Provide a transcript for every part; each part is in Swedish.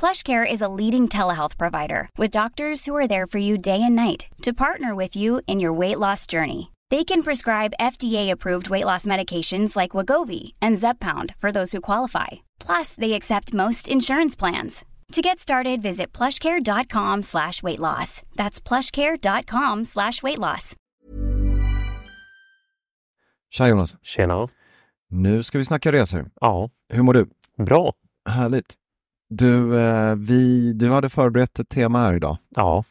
PlushCare is a leading telehealth provider with doctors who are there for you day and night to partner with you in your weight loss journey. They can prescribe FDA-approved weight loss medications like Wagovi and Zepbound for those who qualify. Plus, they accept most insurance plans. To get started, visit plushcare.com slash weight loss. That's plushcare.com slash weight loss. Tja Jonas, Tjena. nu ska vi snacka resor. Ja, Hur mår du? bra. Härligt. Du, eh, vi, du hade förberett ett tema här idag. Ja,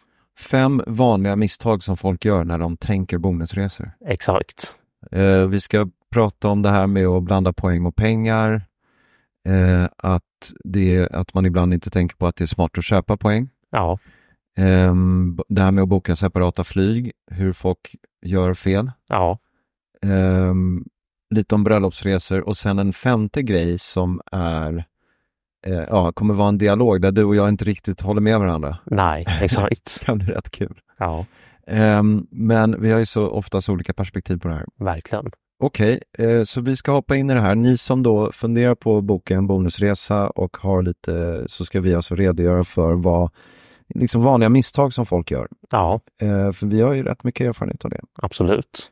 Fem vanliga misstag som folk gör när de tänker bonusresor. exakt. Eh, vi ska prata om det här med att blanda poäng och pengar. Eh, att, det, att man ibland inte tänker på att det är smart att köpa poäng. Ja, Eh, det här med att boka separata flyg, hur folk gör fel. ja, Ehm, lite om bröllopsresor och sen en femte grej som är, eh, ja, kommer vara en dialog där du och jag inte riktigt håller med varandra. nej, Det exakt. kan bli rätt kul. Ja, Ehm, men vi har ju så oftast olika perspektiv på det här. verkligen. Okej, eh, så vi ska hoppa in i det här. Ni som då funderar på att boka en bonusresa och har lite, så ska vi alltså redogöra för vad, liksom vanliga misstag som folk gör. Ja, Eh, för vi har ju rätt mycket erfarenhet av det. absolut.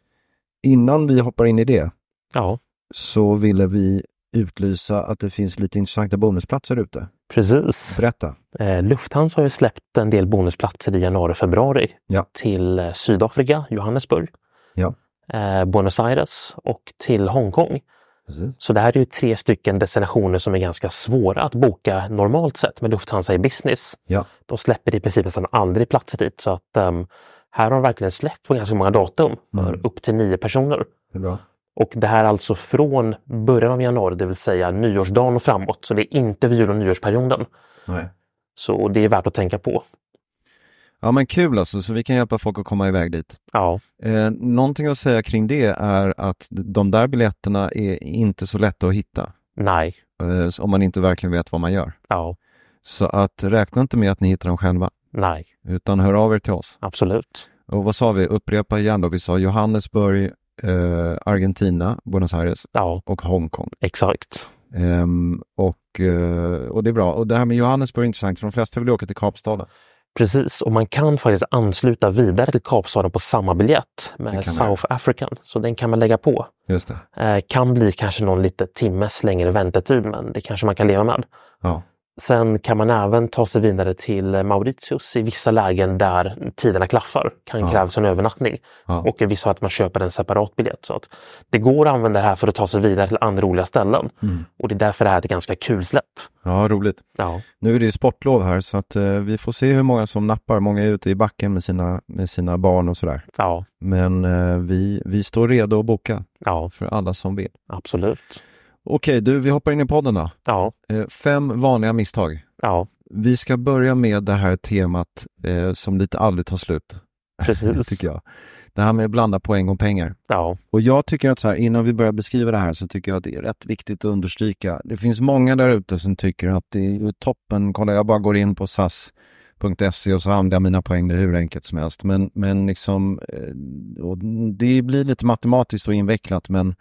Innan vi hoppar in i det, Ja, så ville vi utlysa att det finns lite intressanta bonusplatser ute. precis. Berätta. Eh, Lufthansa har ju släppt en del bonusplatser i januari och februari Ja. till eh, Sydafrika, Johannesburg, Ja. eh, Buenos Aires och till Hongkong. Så det här är ju tre stycken destinationer som är ganska svåra att boka normalt sett med Lufthansa i business. Ja. De släpper i princip nästan aldrig platser dit så att ehm, här har de verkligen släppt på ganska många datum för Mm. upp till nio personer. Det är bra. Och det här alltså från början av januari, det vill säga nyårsdagen och framåt. Så det är inte vid jul och nyårsperioden. Nej. Så det är värt att tänka på. Ja men kul alltså, så vi kan hjälpa folk att komma iväg dit. Ja, Eh, någonting att säga kring det är att de där biljetterna är inte så lätta att hitta. nej, Eh, om man inte verkligen vet vad man gör. ja, Så att räkna inte med att ni hittar dem själva, nej, utan hör av er till oss. absolut. Och vad sa vi? Upprepa igen då. Vi sa Johannesburg, eh, Argentina, Buenos Aires Ja, och Hongkong. exakt. Ehm, och, eh, och det är bra. Och det här med Johannesburg är intressant, för de flesta vill ju åka till Kapstaden. Precis, och man kan faktiskt ansluta vidare till Kapstaden på samma biljett Det med kan South African. Så den kan man lägga på. Just det. Eh, kan bli kanske någon lite timmes längre väntetid, men det kanske man kan leva med. Ja. Sen kan man även ta sig vidare till Mauritius i vissa lägen där tiderna klaffar. Kan Ja. krävas en övernattning. Ja. Och i vissa fall att man köper en separat biljett. Så att det går att använda det här för att ta sig vidare till andra roliga ställen. Och det är därför det här är ett ganska kul släpp. Mm. ja, roligt. Ja, Nu är det ju sportlov här, så att, eh, vi får se hur många som nappar. Många är ute i backen med sina, med sina barn och sådär. ja, Men eh, vi, vi står redo att boka ja för alla som vill. absolut. Okej, du, vi hoppar in i podden då. Ja, Eh, fem vanliga misstag. ja, Vi ska börja med det här temat eh, som lite aldrig tar slut, precis. tycker jag. Det här med att blanda poäng och pengar. Ja, Och jag tycker att så här, innan vi börjar beskriva det här så tycker jag att det är rätt viktigt att understryka. Det finns många där ute som tycker att det är toppen. Kolla, jag bara går in på SAS.se och så använder jag mina poäng. Det är hur enkelt som helst. Men, men liksom, eh, och det blir lite matematiskt och invecklat, men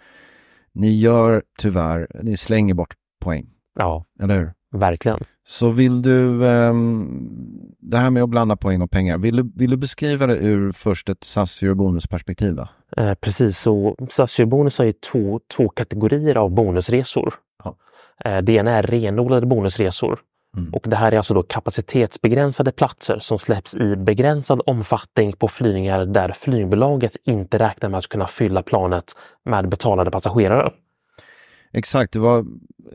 ni gör tyvärr, ni slänger bort poäng. ja, Eller hur? verkligen. Så vill du, ehm, det här med att blanda poäng och pengar, vill du, vill du beskriva det ur först ett SAS och bonusperspektiv? Då? Eh, precis, så SAS-bonus har ju två, två kategorier av bonusresor. Ja. Mm. Eh, det ena är renodlade bonusresor Och det här är alltså då kapacitetsbegränsade platser som släpps i begränsad omfattning på flygningar där flygbolaget inte räknar med att kunna fylla planet med betalade passagerare. Exakt, det var,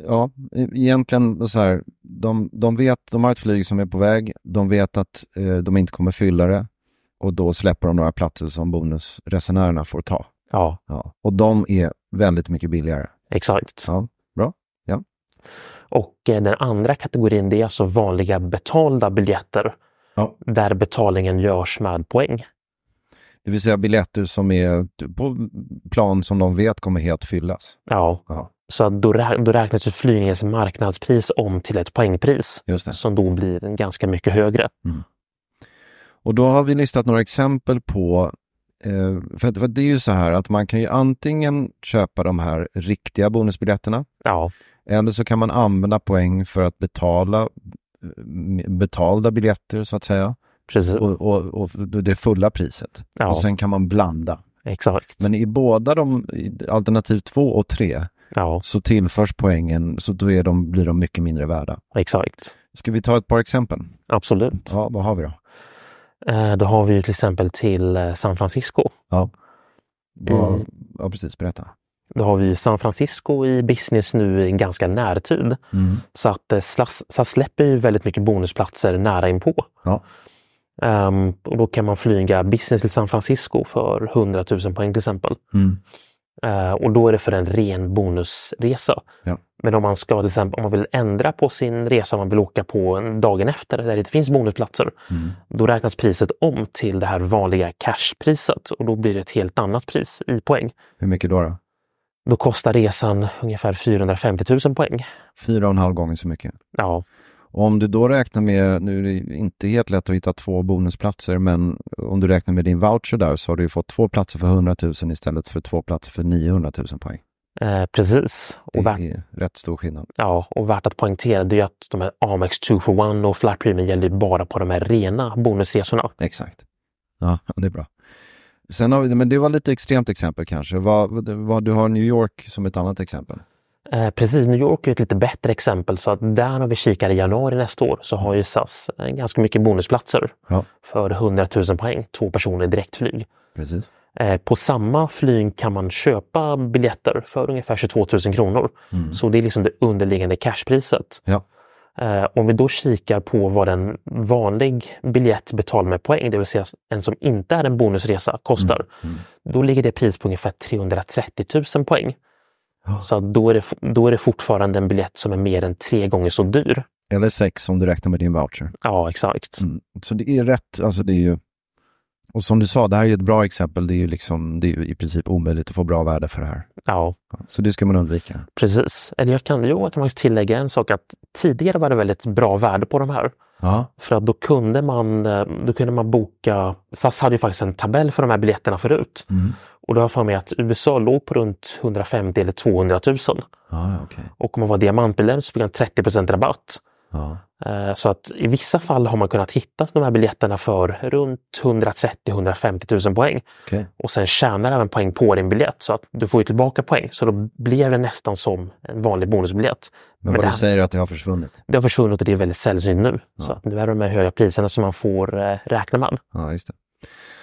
ja, e- egentligen så här, de, de vet, de har ett flyg som är på väg, de vet att eh, de inte kommer fylla det och då släpper de några platser som bonusresenärerna får ta. Ja, Ja. Och de är väldigt mycket billigare. exakt. Ja, bra. Och eh, den andra kategorin det är alltså vanliga betalda biljetter Ja. där betalningen görs med poäng. Det vill säga biljetter som är t- på plan som de vet kommer helt fyllas. Ja, Ja, så att då, rä- då räknas ju flygningens marknadspris om till ett poängpris just det. som då blir ganska mycket högre. Och då har vi listat några exempel på, eh, för, att- för att det är ju så här att man kan ju antingen köpa de här riktiga bonusbiljetterna Ja, eller så kan man använda poäng för att betala eh, m- betalda biljetter så att säga precis. och, och, och det fulla priset. Ja. Och sen kan man blanda. Exakt. Men i båda de, i alternativ två och tre, Ja, så tillförs poängen så då är de, blir de mycket mindre värda. exakt. Ska vi ta ett par exempel? Absolut. Ja, vad har vi då? Eh, Då har vi ju till exempel till eh, San Francisco. Ja, Eh, Mm. ja precis. Berätta. Då har vi San Francisco i business nu i ganska närtid. Mm. Så att eh, SAS, SAS släpper ju väldigt mycket bonusplatser nära inpå. Ja. Ehm, och då kan man flyga business till San Francisco för 100 000 poäng till exempel. Mm. Eh, och då är det för en ren bonusresa. Ja. Men om man ska till exempel, om man vill ändra på sin resa, om man vill åka på en- dagen efter där det inte finns bonusplatser, Mm. då räknas priset om till det här vanliga cashpriset och då blir det ett helt annat pris i poäng. Hur mycket då? då? Då kostar resan ungefär 450 000 poäng. Fyra och en halv gånger så mycket. Ja, Och om du då räknar med, nu är det inte helt lätt att hitta två bonusplatser, men om du räknar med din voucher där så har du ju fått två platser för 100 000 istället för två platser för 900 000 poäng. eh, precis. Det Och värt, är rätt stor skillnad. ja, och värt att poängtera det är ju att de här Amex 241 och Flat Premium gäller ju bara på de här rena bonusresorna. Exakt. Ja, ja, det är bra. Sen har vi, men det var lite extremt exempel kanske. Vad, vad, vad, du har New York som ett annat exempel. Eh, precis, New York är ett lite bättre exempel så att där när vi kikar i januari nästa år så har ju SAS eh, ganska mycket bonusplatser Ja. för 100 000 poäng, två personer i direktflyg. Precis. Eh, på samma flyg kan man köpa biljetter för ungefär 22 000 kronor. Så det är liksom det underliggande cashpriset. Ja. Eh, om vi då kikar på vad en vanlig biljett betald med poäng, det vill säga en som inte är en bonusresa, kostar. Då ligger det pris på ungefär 330 000 poäng. Så att då är, det, f- då är det fortfarande en biljett som är mer än tre gånger så dyr. Eller sex om du räknar med din voucher. Ja, exakt. Mm. Så det är rätt, alltså det är ju... Och som du sa, det här är ju ett bra exempel. Det är ju liksom, det är ju i princip omöjligt att få bra värde för det här. Ja, Så det ska man undvika. precis. Eller jag kan, jo, jag kan faktiskt tillägga en sak att tidigare var det väldigt bra värde på de här. Ja. För att då kunde man, eh, då kunde man boka, SAS hade ju faktiskt en tabell för de här biljetterna förut. Mm. Och då har jag för mig att USA låg på runt 150 eller 200 000. Ja, ja, okej. Och om man var diamantmedlem så fick man 30 rabatt. Ja. Eh, Så att i vissa fall har man kunnat hitta de här biljetterna för runt 130-150 000 poäng. Okej. Och sen tjänar även poäng på din biljett så att du får ju tillbaka poäng. Så då blir det nästan som en vanlig bonusbiljett. Men det, vad du här- säger är att det har försvunnit. det har försvunnit och det är väldigt sällsynt nu. Så att nu är det de här höga priserna som man får eh, räkna med. Ja, just det.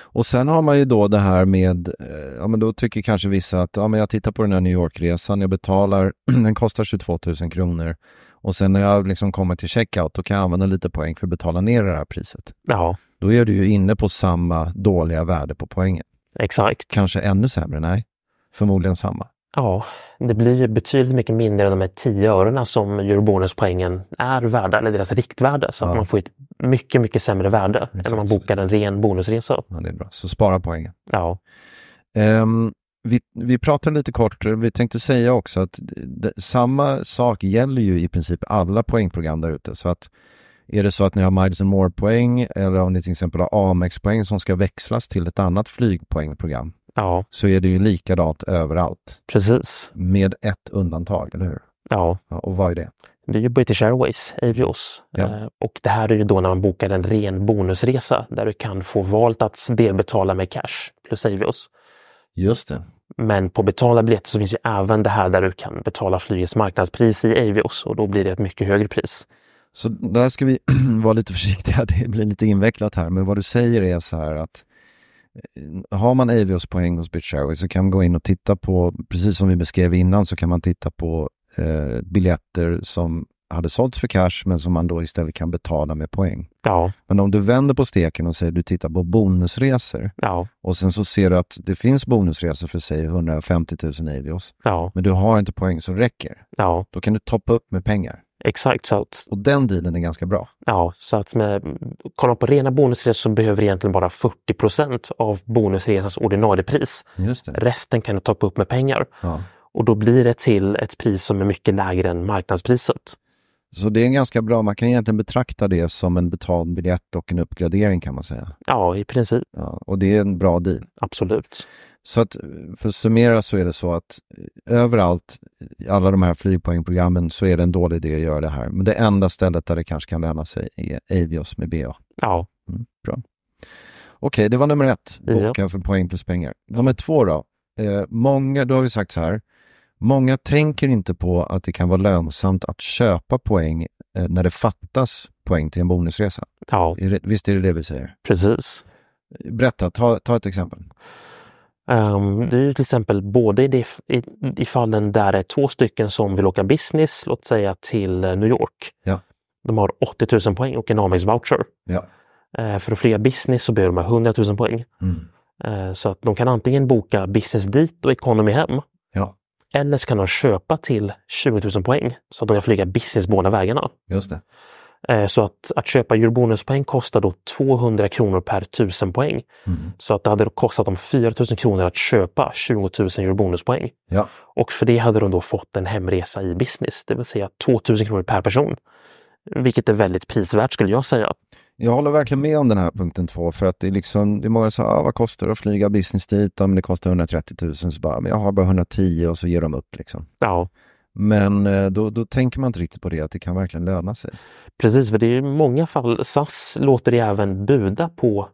Och sen har man ju då det här med, eh, ja men då tycker kanske vissa att, ja men jag tittar på den här New York-resan, jag betalar, den kostar 22 000 kronor och sen när jag liksom kommer till checkout då kan jag använda lite poäng för att betala ner det här priset. Ja, Då är du ju inne på samma dåliga värde på poängen. exakt. Kanske ännu sämre? Nej, förmodligen samma. Ja, det blir ju betydligt mycket mindre än de här 10 örena som eurobonuspoängen är värda, eller deras riktvärde. Så Ja. att man får ett mycket, mycket sämre värde än om man Exakt. bokar en ren bonusresa. Ja, det är bra. Så spara poängen. Ja, Ehm, vi, vi pratade lite kort, vi tänkte säga också att d- samma sak gäller ju i princip alla poängprogram där ute. Så att är det så att ni har Miles and More-poäng eller om ni till exempel har Amex-poäng som ska växlas till ett annat flygpoängprogram ja så är det ju likadant överallt precis. med ett undantag, eller hur? Ja, Ja, och vad är det? det är ju British Airways, Avios. Ja. Eh, och det här är ju då när man bokar en ren bonusresa där du kan få valt att delbetala med cash plus Avios. Just det. Men på betalda biljetter så finns ju även det här där du kan betala flygets marknadspris i Avios och då blir det ett mycket högre pris. Så där ska vi vara lite försiktiga, det blir lite invecklat här, men vad du säger är så här att eh, har man Avios-poäng hos British Airways så kan man gå in och titta på, precis som vi beskrev innan, så kan man titta på eh, biljetter som hade sålts för cash men som man då istället kan betala med poäng. Ja, Men om du vänder på steken och säger du tittar på bonusresor ja, och sen så ser du att det finns bonusresor för säg 150 000 Avios, ja, men du har inte poäng som räcker, ja. då kan du toppa upp med pengar. Exakt så att, Och den dealen är ganska bra. ja, så att med, kollar man på rena bonusresor så behöver egentligen bara 40 procent av bonusresans ordinarie pris. Just det. Resten kan du toppa upp med pengar Ja. och då blir det till ett pris som är mycket lägre än marknadspriset. Så det är en ganska bra, man kan egentligen betrakta det som en betald biljett och en uppgradering kan man säga. Ja, i princip. Ja, och det är en bra deal. Absolut. Så att för att summera så är det så att eh, överallt i alla de här flygpoängprogrammen så är det en dålig idé att göra det här. Men det enda stället där det kanske kan löna sig är Avios med BA. Ja, Mm, bra. Okej, det var nummer ett. Ja. Boka för poäng plus pengar. Nummer två då. Eh, många, då har vi sagt så här. Många tänker inte på att det kan vara lönsamt att köpa poäng eh, när det fattas poäng till en bonusresa. ja, Är det, visst är det det vi säger? precis. Berätta, ta, ta ett exempel. Ehm, det är ju till exempel både i, de, i, i fallen där det är två stycken som vill åka business, låt säga till eh, New York. Ja. De har 80 000 poäng och en Amex-voucher. Ja. Eh, för att flyga business så behöver de ha 100 000 poäng. Mm. Eh, så att de kan antingen boka business dit och economy hem. Ja, Eller så kan de köpa till 20 000 poäng så att de kan flyga business båda vägarna. just det. Eh, Så att, att köpa eurobonuspoäng kostar då 200 kronor per 1000 poäng. Så att det hade då kostat dem 4 000 kronor att köpa 20 000 eurobonuspoäng. Ja, Och för det hade de då fått en hemresa i business, det vill säga 2 000 kronor per person. Vilket är väldigt prisvärt skulle jag säga. jag håller verkligen med om den här punkten två, för att det är liksom, det är många som säger, ah, vad kostar det att flyga business dit? Ja, men det kostar 130 000, så bara, men jag har bara 110 och så ger de upp liksom. Ja, Men eh, då, då tänker man inte riktigt på det, att det kan verkligen löna sig. precis, för det är ju många fall. SAS låter ju även buda på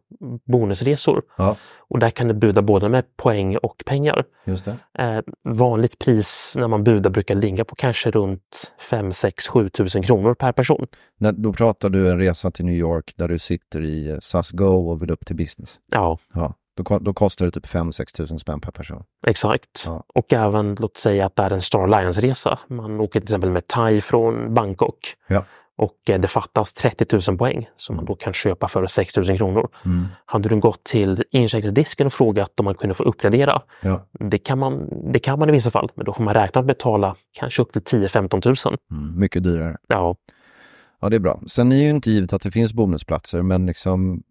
bonusresor Ja, och där kan du buda både med poäng och pengar. just det. Eh, vanligt pris när man budar brukar ligga på kanske runt 5, 6, 7 tusen kronor per person. När, då pratar du en resa till New York där du sitter i eh, SAS Go och vill upp till business. Ja, Ja, då, ko- då kostar det typ 5-6 tusen spänn per person. exakt. Ja. Och även låt säga att det är en Star Alliance-resa. Man åker till exempel med Thai från Bangkok Ja. och eh, det fattas 30 000 poäng som man då kan köpa för 6 000 kronor. Mm. Hade du gått till incheckningsdisken och frågat om man kunde få uppgradera? Ja. Det kan man, det kan man i vissa fall, men då får man räkna att betala kanske upp till 10-15 000. Mm. Mycket dyrare. Ja, Ja, det är bra. Sen är ju inte givet att det finns bonusplatser, men liksom,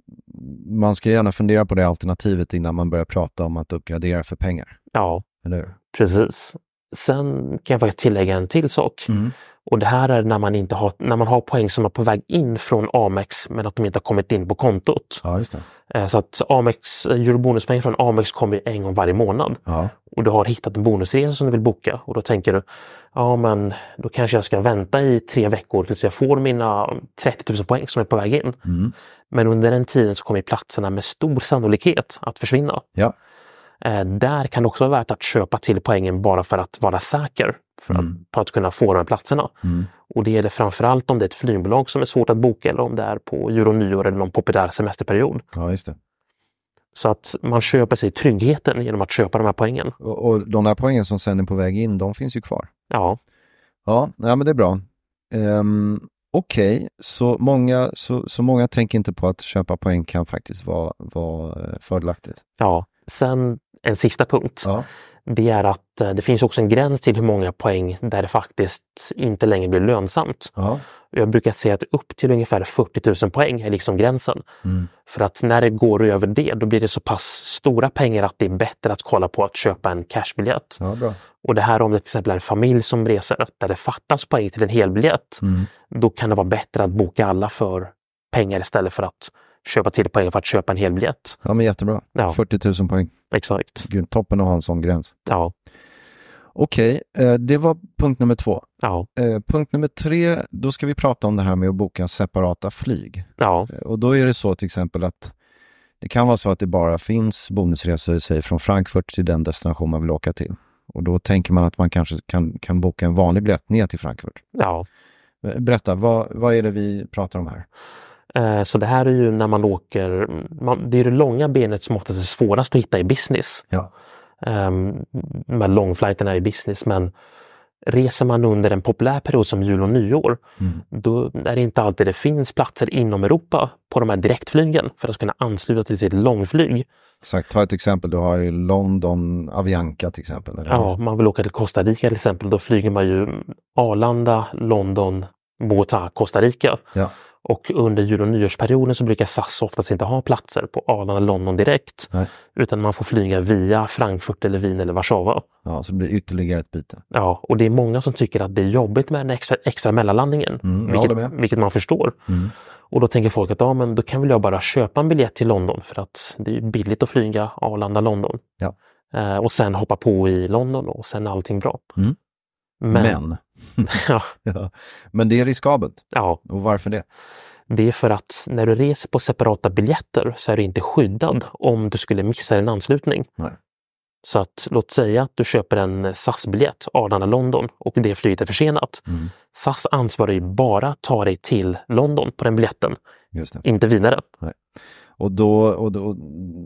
man ska gärna fundera på det alternativet innan man börjar prata om att uppgradera för pengar. ja. Eller hur? Precis. Sen kan jag faktiskt tillägga en till sak. Och det här är när man, inte har, när man har poäng som är på väg in från Amex men att de inte har kommit in på kontot. Ja, just det. Eh, Så att Amex, eh, eurobonuspoäng från Amex kommer ju en gång varje månad. Ja, Och du har hittat en bonusresa som du vill boka och då tänker du ja men då kanske jag ska vänta i tre veckor tills jag får mina 30 000 poäng som är på väg in. Men under den tiden så kommer ju platserna med stor sannolikhet att försvinna. ja. Eh, där kan det också vara värt att köpa till poängen bara för att vara säker för att, på att kunna få de här platserna. Mm. Och det gäller framförallt om det är ett flygbolag som är svårt att boka eller om det är på jul och nyår eller någon populär semesterperiod. ja just det. Så att man köper sig tryggheten genom att köpa de här poängen. Och, och de där poängen som sen är på väg in, de finns ju kvar. Ja, Ja, ja men det är bra. Um, Okej, så, många, så, så många tänker inte på att köpa poäng kan faktiskt vara, vara eh, fördelaktigt. ja. Sen en sista punkt. Ja. Det är att eh, det finns också en gräns till hur många poäng där det faktiskt inte längre blir lönsamt. ja. Jag brukar säga att upp till ungefär 40 000 poäng är liksom gränsen. För att när det går över det, då blir det så pass stora pengar att det är bättre att kolla på att köpa en cashbiljett. Ja, bra. Och det här om det till exempel är en familj som reser, där det fattas poäng till en helbiljett, då kan det vara bättre att boka alla för pengar istället för att köpa till poäng för att köpa en helbiljett. Ja, men jättebra. Ja. 40 000 poäng. Exakt. Gud, toppen att ha en sån gräns. Ja, Okej, eh, det var punkt nummer två. ja, Eh, punkt nummer tre, då ska vi prata om det här med att boka separata flyg. ja, Eh, Och då är det så till exempel att det kan vara så att det bara finns bonusresor, säg från Frankfurt till den destination man vill åka till. Och då tänker man att man kanske kan, kan boka en vanlig biljett ner till Frankfurt. Eh, ja, Berätta, vad, vad är det vi pratar om här? Eh, Så det här är ju när man åker, man, det är det långa benet som oftast är svårast att hitta i business. Ja. Um, med långflighterna i business men reser man under en populär period som jul och nyår då är det inte alltid det finns platser inom Europa på de här direktflygen för att kunna ansluta till sitt långflyg. Exakt, ta ett exempel. Du har ju London, Avianca till exempel. Eller? Ja, om man vill åka till Costa Rica till exempel, då flyger man ju Arlanda, London, Bogotá, Costa Rica. Ja. Och under jul och nyårsperioden så brukar SAS oftast inte ha platser på Arlanda, London direkt. Nej. Utan man får flyga via Frankfurt eller Wien eller Warszawa. ja, så det blir ytterligare ett byte. Ja, och det är många som tycker att det är jobbigt med den extra, extra mellanlandningen. Mm, jag håller vilket, med. vilket man förstår. Och då tänker folk att ja, men då kan väl jag bara köpa en biljett till London för att det är ju billigt att flyga Arlanda-London. Ja. Eh, och sen hoppa på i London och sen är allting bra. Mm. Men, Men, Ja, ja. Men det är riskabelt. ja, Och varför det? det är för att när du reser på separata biljetter så är du inte skyddad om du skulle missa en anslutning. Nej. Så att låt säga att du köper en SAS-biljett, Arlanda-London, och det flyget är försenat. Mm. SAS ansvarar ju bara att ta dig till London på den biljetten, Just det. inte vidare. Och, då, och, då,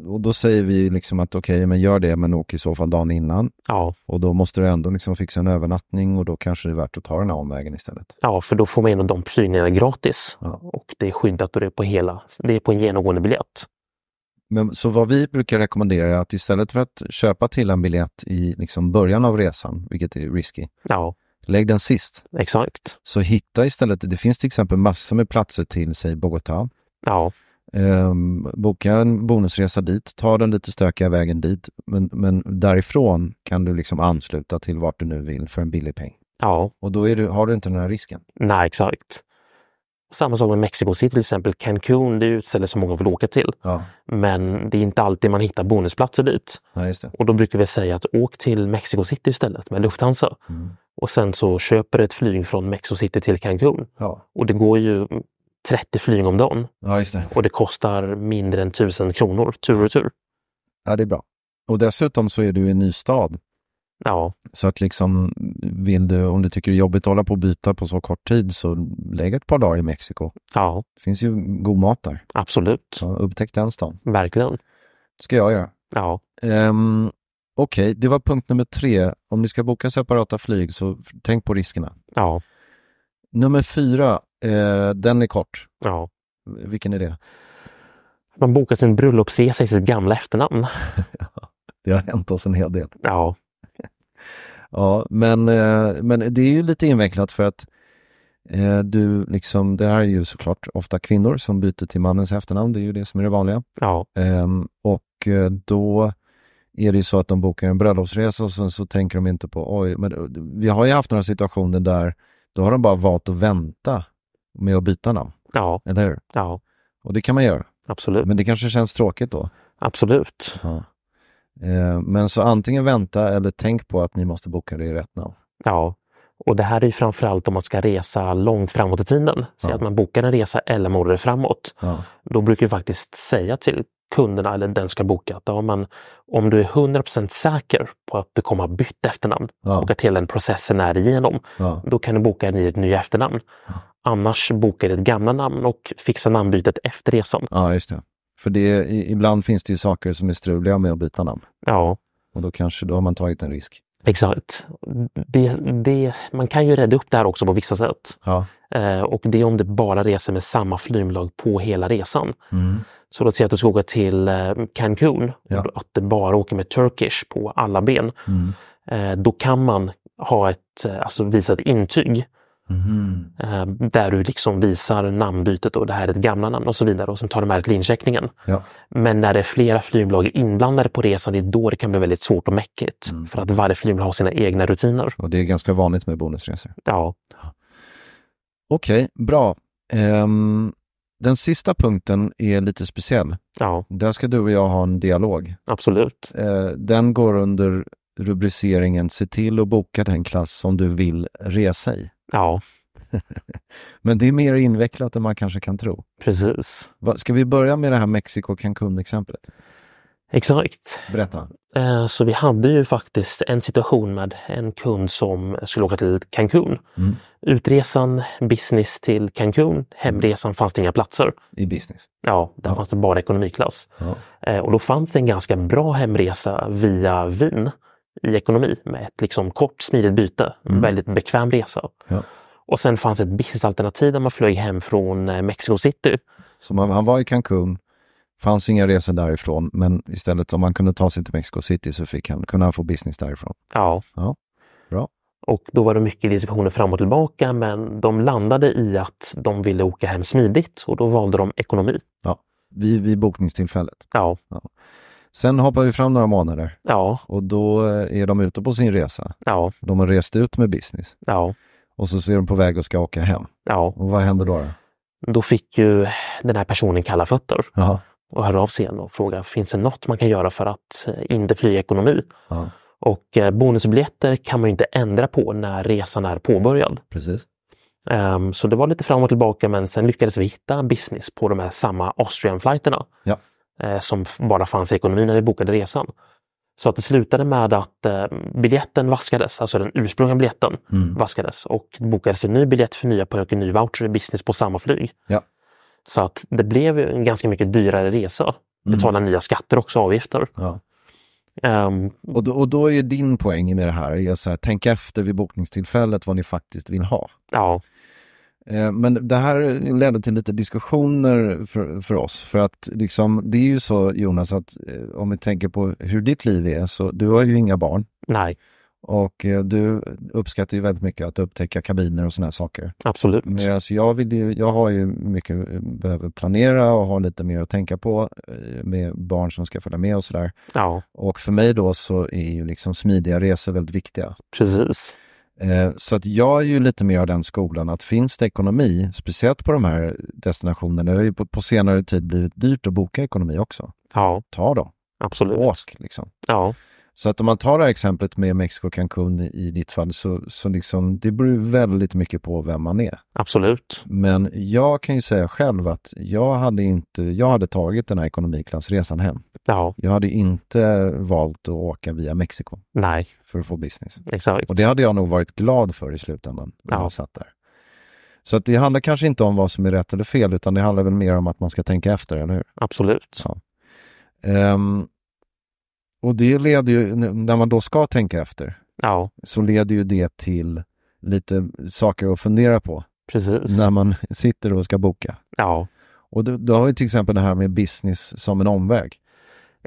och då säger vi liksom att okej, men gör det, men åk i så fall dagen innan. Ja, Och då måste du ändå liksom fixa en övernattning och då kanske det är värt att ta den här omvägen istället. ja för då får man in de flygningarna gratis Ja. och det är skyddat och det är på, hela, det är på en genomgående biljett. Men, så vad vi brukar rekommendera är att istället för att köpa till en biljett i liksom början av resan, vilket är risky, Ja, lägg den sist. exakt. Så hitta istället, det finns till exempel massor med platser till, säg Bogotá. Ja, Ehm, boka en bonusresa dit, ta den lite stökiga vägen dit, men, men därifrån kan du liksom ansluta till vart du nu vill för en billig peng. ja, Och då är du, har du inte den här risken. nej exakt. Samma sak med Mexico City till exempel. Cancun, det är ju ett ställe som många vill åka till. Ja, Men det är inte alltid man hittar bonusplatser dit. ja just det. Och då brukar vi säga att åk till Mexico City istället med Lufthansa. Och sen så köper du ett flyg från Mexico City till Cancun. Ja, Och det går ju 30 flyg om dagen ja just det. och det kostar mindre än 1000 kronor tur och tur. Ja, det är bra. Och dessutom så är du i en ny stad. Ja, Så att liksom, vill du, om du tycker det är jobbigt att hålla på och byta på så kort tid, så lägg ett par dagar i Mexiko. ja, Det finns ju god mat där. absolut. Så upptäck den stan. Verkligen. Det ska jag göra. Ja, Um, Okej, det var punkt nummer tre. Om ni ska boka separata flyg så f- tänk på riskerna. ja, Nummer fyra, eh, den är kort. ja. Vilken är det? Man bokar sin bröllopsresa i sitt gamla efternamn. Det har hänt oss en hel del. Ja, Ja, men, eh, men det är ju lite invecklat för att eh, du liksom, det här är ju såklart ofta kvinnor som byter till mannens efternamn. Det är ju det som är det vanliga. ja, Ehm, och eh, då är det ju så att de bokar en bröllopsresa och sen så tänker de inte på, oj, men eh, vi har ju haft några situationer där då har de bara valt att vänta med att byta namn, ja, eller hur? ja, Och det kan man göra, absolut, men det kanske känns tråkigt då. absolut. Ehm, men så antingen vänta eller tänk på att ni måste boka det i rätt namn. Ja, och det här är ju framförallt om man ska resa långt framåt i tiden. Så Ja. att man bokar en resa elva månader framåt. Ja. Då brukar vi faktiskt säga till kunderna eller den som ska boka att ja, men om du är 100 säker på att du kommer ha bytt efternamn Ja. och att hela den processen är igenom, Ja. då kan du boka den i ett nytt efternamn. Annars boka ditt gamla namn och fixa namnbytet efter resan. ja, just det. För det, är- i- ibland finns det ju saker som är struliga med att byta namn Ja, och då kanske då har man tagit en risk. exakt. Det, det, man kan ju rädda upp det här också på vissa sätt. Ja. Eh, och det är om du bara reser med samma flygbolag på hela resan. Mm. Så låt säga att du ska åka till eh, Cancun Ja. Mm. och att du bara åker med Turkish på alla ben. Eh, då kan man ha ett, eh, alltså visa ett intyg Mhm. eh, där du liksom visar namnbytet och det här är ett gamla namn och så vidare och sen tar de med till incheckningen. Ja. Men när det är flera flygbolag inblandade på resan, det är då det kan bli väldigt svårt och mäckigt. Mm. För att varje flygbolag har sina egna rutiner. Och det är ganska vanligt med bonusresor. Ja, Okej, bra. Ehm, den sista punkten är lite speciell. ja Där ska du och jag ha en dialog. absolut. Eh, den går under rubriceringen Se till att boka den klass som du vill resa i. Ja, Men det är mer invecklat än man kanske kan tro. precis. Va, ska vi börja med det här Mexiko Cancun-exemplet? Exakt. Berätta. Eh, Så vi hade ju faktiskt en situation med en kund som skulle åka till Cancun. Mm. Utresan, business till Cancun, hemresan fanns det inga platser. I business. Ja, där fanns det bara ekonomiklass. Ja. Eh, Och då fanns det en ganska bra hemresa via Wien i ekonomi med ett liksom kort smidigt byte. En väldigt bekväm resa. Ja. Och sen fanns ett businessalternativ där man flög hem från eh, Mexico City. Så man, han var i Cancun, fanns inga resor därifrån, men istället om man kunde ta sig till Mexico City så fick han, kunde han få business därifrån. Ja. Ja, bra. Och då var det mycket diskussioner fram och tillbaka men de landade i att de ville åka hem smidigt och då valde de ekonomi. Ja, vid, vid bokningstillfället. Ja, Sen hoppar vi fram några månader ja, och då eh, är de ute på sin resa. ja, De har rest ut med business ja, och så är de på väg och ska åka hem. ja. Och vad händer då? då? Då fick ju den här personen kalla fötter Jaha. och hörde av sig igen och frågade finns det något man kan göra för att eh, inte flyga ekonomi? Ja, Och eh, bonusbiljetter kan man ju inte ändra på när resan är påbörjad. precis. Ehm, Så det var lite fram och tillbaka men sen lyckades vi hitta business på de här samma Austrian-flighterna. Ja. eh, Som f- bara fanns i ekonomin när vi bokade resan. Så att det slutade med att eh, biljetten vaskades, alltså den ursprungliga biljetten Mm. vaskades och det bokades en ny biljett för nya poäng och en ny voucher i business på samma flyg. Ja. Så att det blev ju en ganska mycket dyrare resa. Mm. Betala nya skatter också, avgifter. Ja. Ehm, Och, då, och då är din poäng med det här, är så här, tänk efter vid bokningstillfället vad ni faktiskt vill ha. ja, Eh, Men det här ledde till lite diskussioner för, för oss. För att liksom, det är ju så Jonas att eh, om vi tänker på hur ditt liv är, så du har ju inga barn. nej, Och eh, du uppskattar ju väldigt mycket att upptäcka kabiner och sådana här saker. absolut. Medan jag, vill ju, jag har ju mycket, eh, behöver planera och har lite mer att tänka på eh, med barn som ska följa med och sådär. Ja, Och för mig då så är ju liksom smidiga resor väldigt viktiga. precis. Eh, Så att jag är ju lite mer av den skolan att finns det ekonomi, speciellt på de här destinationerna, det har ju på, på senare tid blivit dyrt att boka ekonomi också. Ja, Ta dem, absolut. åk liksom. Ja, Så att om man tar det här exemplet med Mexiko och Cancun i, i ditt fall, så, så liksom, det beror ju väldigt mycket på vem man är. absolut. Men jag kan ju säga själv att jag hade inte, jag hade tagit den här ekonomiklassresan hem. Ja, Jag hade inte valt att åka via Mexiko nej, för att få business. exakt. Och det hade jag nog varit glad för i slutändan när Ja. jag satt där. Så att det handlar kanske inte om vad som är rätt eller fel, utan det handlar väl mer om att man ska tänka efter, eller hur? Absolut. Ja. Ehm, och det leder ju, n- när man då ska tänka efter, Ja, så leder ju det till lite saker att fundera på precis. när man sitter och ska boka. Ja, Och då, då har vi till exempel det här med business som en omväg.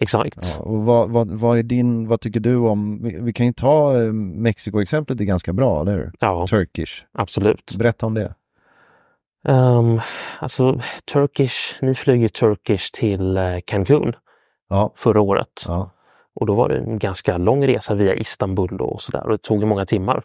exakt. Ja, och vad, vad, vad, är din, vad tycker du om, vi, vi kan ju ta eh, Mexiko-exemplet, det är ganska bra, eller hur? Ja, Turkish. absolut. Berätta om det. Um, alltså, Turkish, ni flög ju Turkish till eh, Cancun Ja. förra året. ja. Och då var det en ganska lång resa via Istanbul då och sådär och det tog ju många timmar.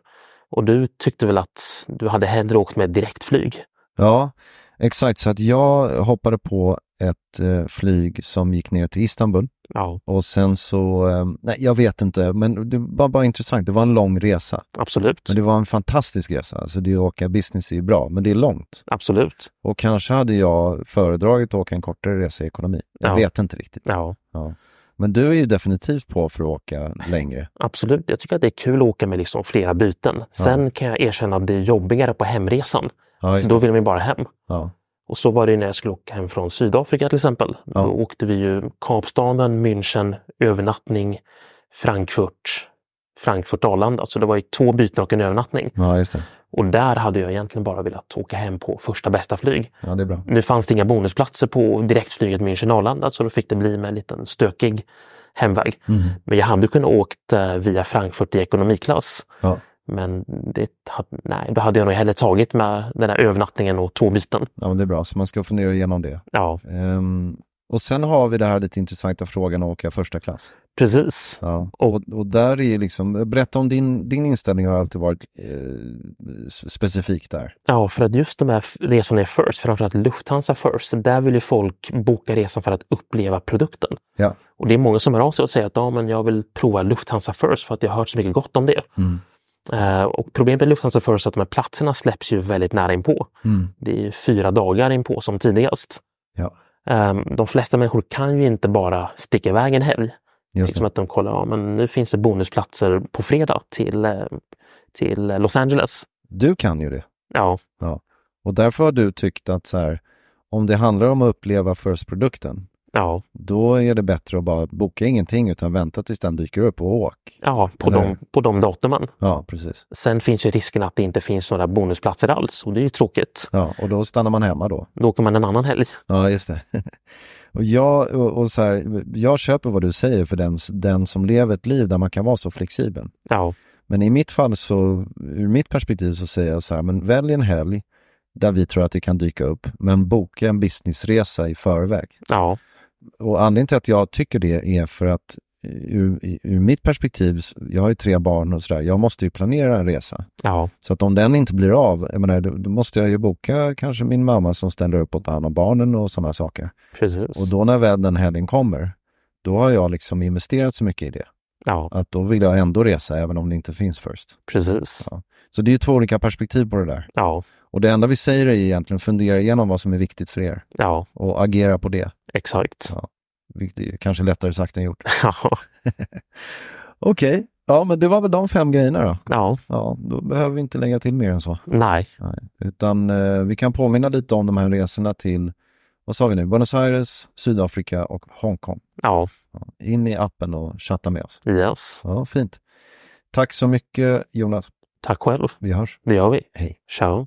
Och du tyckte väl att du hade hellre åkt med direktflyg? Ja, exakt. Så att jag hoppade på ett eh, flyg som gick ner till Istanbul Ja, och sen så, eh, nej jag vet inte, men det var bara intressant. Det var en lång resa. absolut. Men det var en fantastisk resa. Alltså det att åka business är ju bra, men det är långt. Absolut. Och kanske hade jag föredragit att åka en kortare resa i ekonomi. Jag Ja. vet inte riktigt. Ja, Ja. Men du är ju definitivt på för att åka längre. absolut. Jag tycker att det är kul att åka med liksom flera byten. Sen kan jag erkänna att det är jobbigare på hemresan. Ja, just För då det. vill man ju bara hem. Ja. Och så var det ju när jag skulle åka hem från Sydafrika till exempel. Ja. Då åkte vi ju Kapstaden, München, övernattning, Frankfurt, Frankfurt-Arlanda. Så det var ju två byten och en övernattning. ja, just det. Och där hade jag egentligen bara velat åka hem på första bästa flyg. Ja, det är bra. Nu fanns det inga bonusplatser på direktflyget München-Arlanda så då fick det bli med en liten stökig hemväg. Mm. Men jag hade ju kunnat åkt eh, via Frankfurt i ekonomiklass. Ja. Men det hade, nej, då hade jag nog hellre tagit med den här övernattningen och två byten. ja, men det är bra. Så man ska fundera igenom det. Ja, Ehm, och sen har vi det här lite intressanta frågan att åka första klass. precis. Ja. Och, och där är liksom, berätta om din, din inställning har alltid varit eh, s- specifik där. Ja, för att just de här f- resorna är First, framförallt Lufthansa First, där vill ju folk boka resan för att uppleva produkten. Ja, Och det är många som hör av sig och säger att ja, men jag vill prova Lufthansa First för att jag har hört så mycket gott om det. Mm. Eh, och problemet med Lufthansa First är att de här platserna släpps ju väldigt nära inpå. Det är ju fyra dagar inpå som tidigast. Mm. ja. Ehm, De flesta människor kan ju inte bara sticka iväg en helg. Just Liksom det. att de kollar, ja, men nu finns det bonusplatser på fredag till, eh, till eh, Los Angeles. Du kan ju det. Ja, Och därför har du tyckt att så här, om det handlar om att uppleva first-produkten, ja, då är det bättre att bara boka ingenting utan vänta tills den dyker upp och åk. ja på, Eller de, på de datumen. Ja, precis. Sen finns ju risken att det inte finns några bonusplatser alls och det är ju tråkigt. Ja, och då stannar man hemma då. Då åker man en annan helg. Ja, just det. Och jag, och, och så här, jag köper vad du säger för den, den som lever ett liv där man kan vara så flexibel. Ja, Men i mitt fall, så, ur mitt perspektiv, så säger jag så här, men välj en helg där vi tror att det kan dyka upp, men boka en businessresa i förväg. ja, Och anledningen till att jag tycker det är för att eh, ur, i- ur mitt perspektiv, så- jag har ju tre barn och sådär, jag måste ju planera en resa. ja, Så att om den inte blir av, jag menar, då, då måste jag ju boka kanske min mamma som ställer upp och tar hand om barnen och sådana saker. precis. Och då när väl den helgen kommer, då har jag liksom investerat så mycket i det. ja, Att då vill jag ändå resa även om det inte finns först. precis. Så det är ju två olika perspektiv på det där. Ja, Och det enda vi säger är egentligen fundera igenom vad som är viktigt för er ja, och agera på det. exakt. Ja. Vilket är ju kanske lättare sagt än gjort. Ja, Okej, ja men det var väl de fem grejerna då. ja, Ja, då behöver vi inte lägga till mer än så. nej, Utan eh, vi kan påminna lite om de här resorna till, vad sa vi nu, Buenos Aires, Sydafrika och Hongkong. ja, Ja, in i appen och chatta med oss. yes. Ja, fint. Tack så mycket Jonas. Tack själv. Vi hörs. Det gör vi. Hej. Ciao.